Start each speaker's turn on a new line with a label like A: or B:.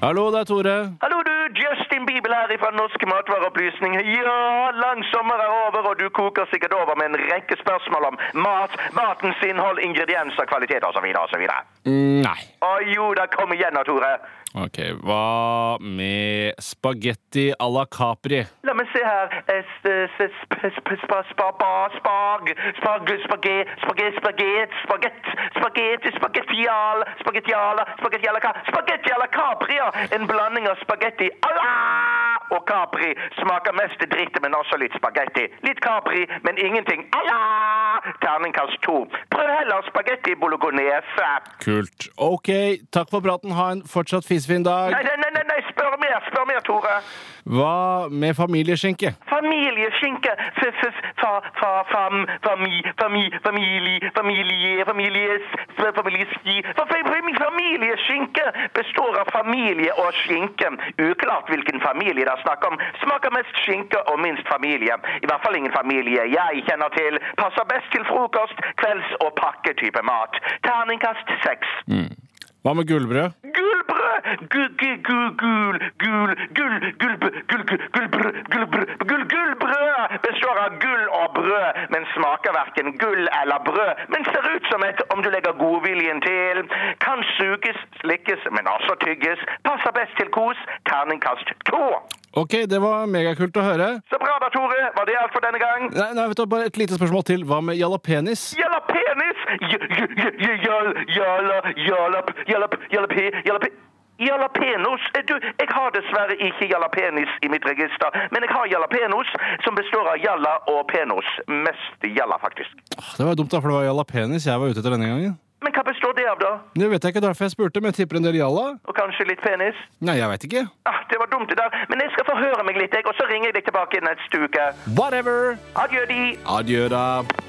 A: Hallo, det er Tore.
B: Hallo du, Justin Bibel her fra Norske Matvareopplysning. Ja, lang sommer er over, og du koker sikkert over med en rekke spørsmål om mat, matens innhold, ingredienser, kvalitet osv. osv.
A: Mm, Nei.
B: Å jo da, kom igjen da, Tore.
A: Ok, hva med spagetti à la Capri?
B: La meg se her. Eh, s- s- sp- sp- spa- spa- ba- Spag Spag Spagé Spagé Spagett Spagett Spagetti Spagettial Spagettiala Spagettiala ka- Spagetti à la Capri, ja. En blanding av spagetti à la og Capri. Smaker mest dritt, men også litt spagetti. Litt Capri, men ingenting à la. Terningkast to. Prøv heller spagetti bolognese.
A: Kult. Ok, takk for praten. Ha en fortsatt fisefin
B: Nei,
A: dag.
B: nei, nei, nei, nei, spør mer, spør mer, Tore.
A: Hva med familieskinke?
B: Familieskinke f- f- fa- fa- fam- fami- fami- Familie Familie Families f- Familieski fa- fa- fami- Familieskinke består av familie og skinke. Uklart hvilken familie det er snakk om. Smaker mest skinke og minst familie. I hvert fall ingen familie jeg kjenner til. Passer best til frokost, kvelds- og pakketype mat. Terningkast seks.
A: Hva med gullbrød?
B: Gullbrød! Gu- gu- gu- Gul, gul, gull, gullb... Gull, gull, gullbrød, gullbrød, gull, gullbrød! Består av gull og brød, men smaker hverken gull eller brød. Men ser ut som et om du legger godviljen til. Kan suges, slikkes, men også tygges. Passer best til kos. Terningkast to.
A: Ok, det var megakult å høre.
B: Så bra da, Tore. Var det alt for denne gang?
A: Nei, nei, vet du, bare et lite spørsmål til. Hva med jalapenis?
B: Jalla penis! J- j- j- j- jall- Jalla jalla p- jalla p- jalla pe- jalla pe- Jalapenos Eh, Du, jeg har dessverre ikke jalapenis i mitt register, men jeg har jalapenos, som består av jalla og penos. Mest jalla, faktisk.
A: Åh, Det var jo dumt, da, for det var jalapenis jeg var ute etter denne gangen.
B: Men hva består det av, da?
A: Det vet jeg ikke, derfor jeg spurte, men jeg tipper en del jalla.
B: Og kanskje litt penis?
A: Nei, jeg veit ikke.
B: Ah, det var dumt, det der. Men jeg skal forhøre meg litt, jeg, og så ringer jeg deg tilbake i neste uke.
A: Whatever.
B: Adjø, de.
A: Adjø, da.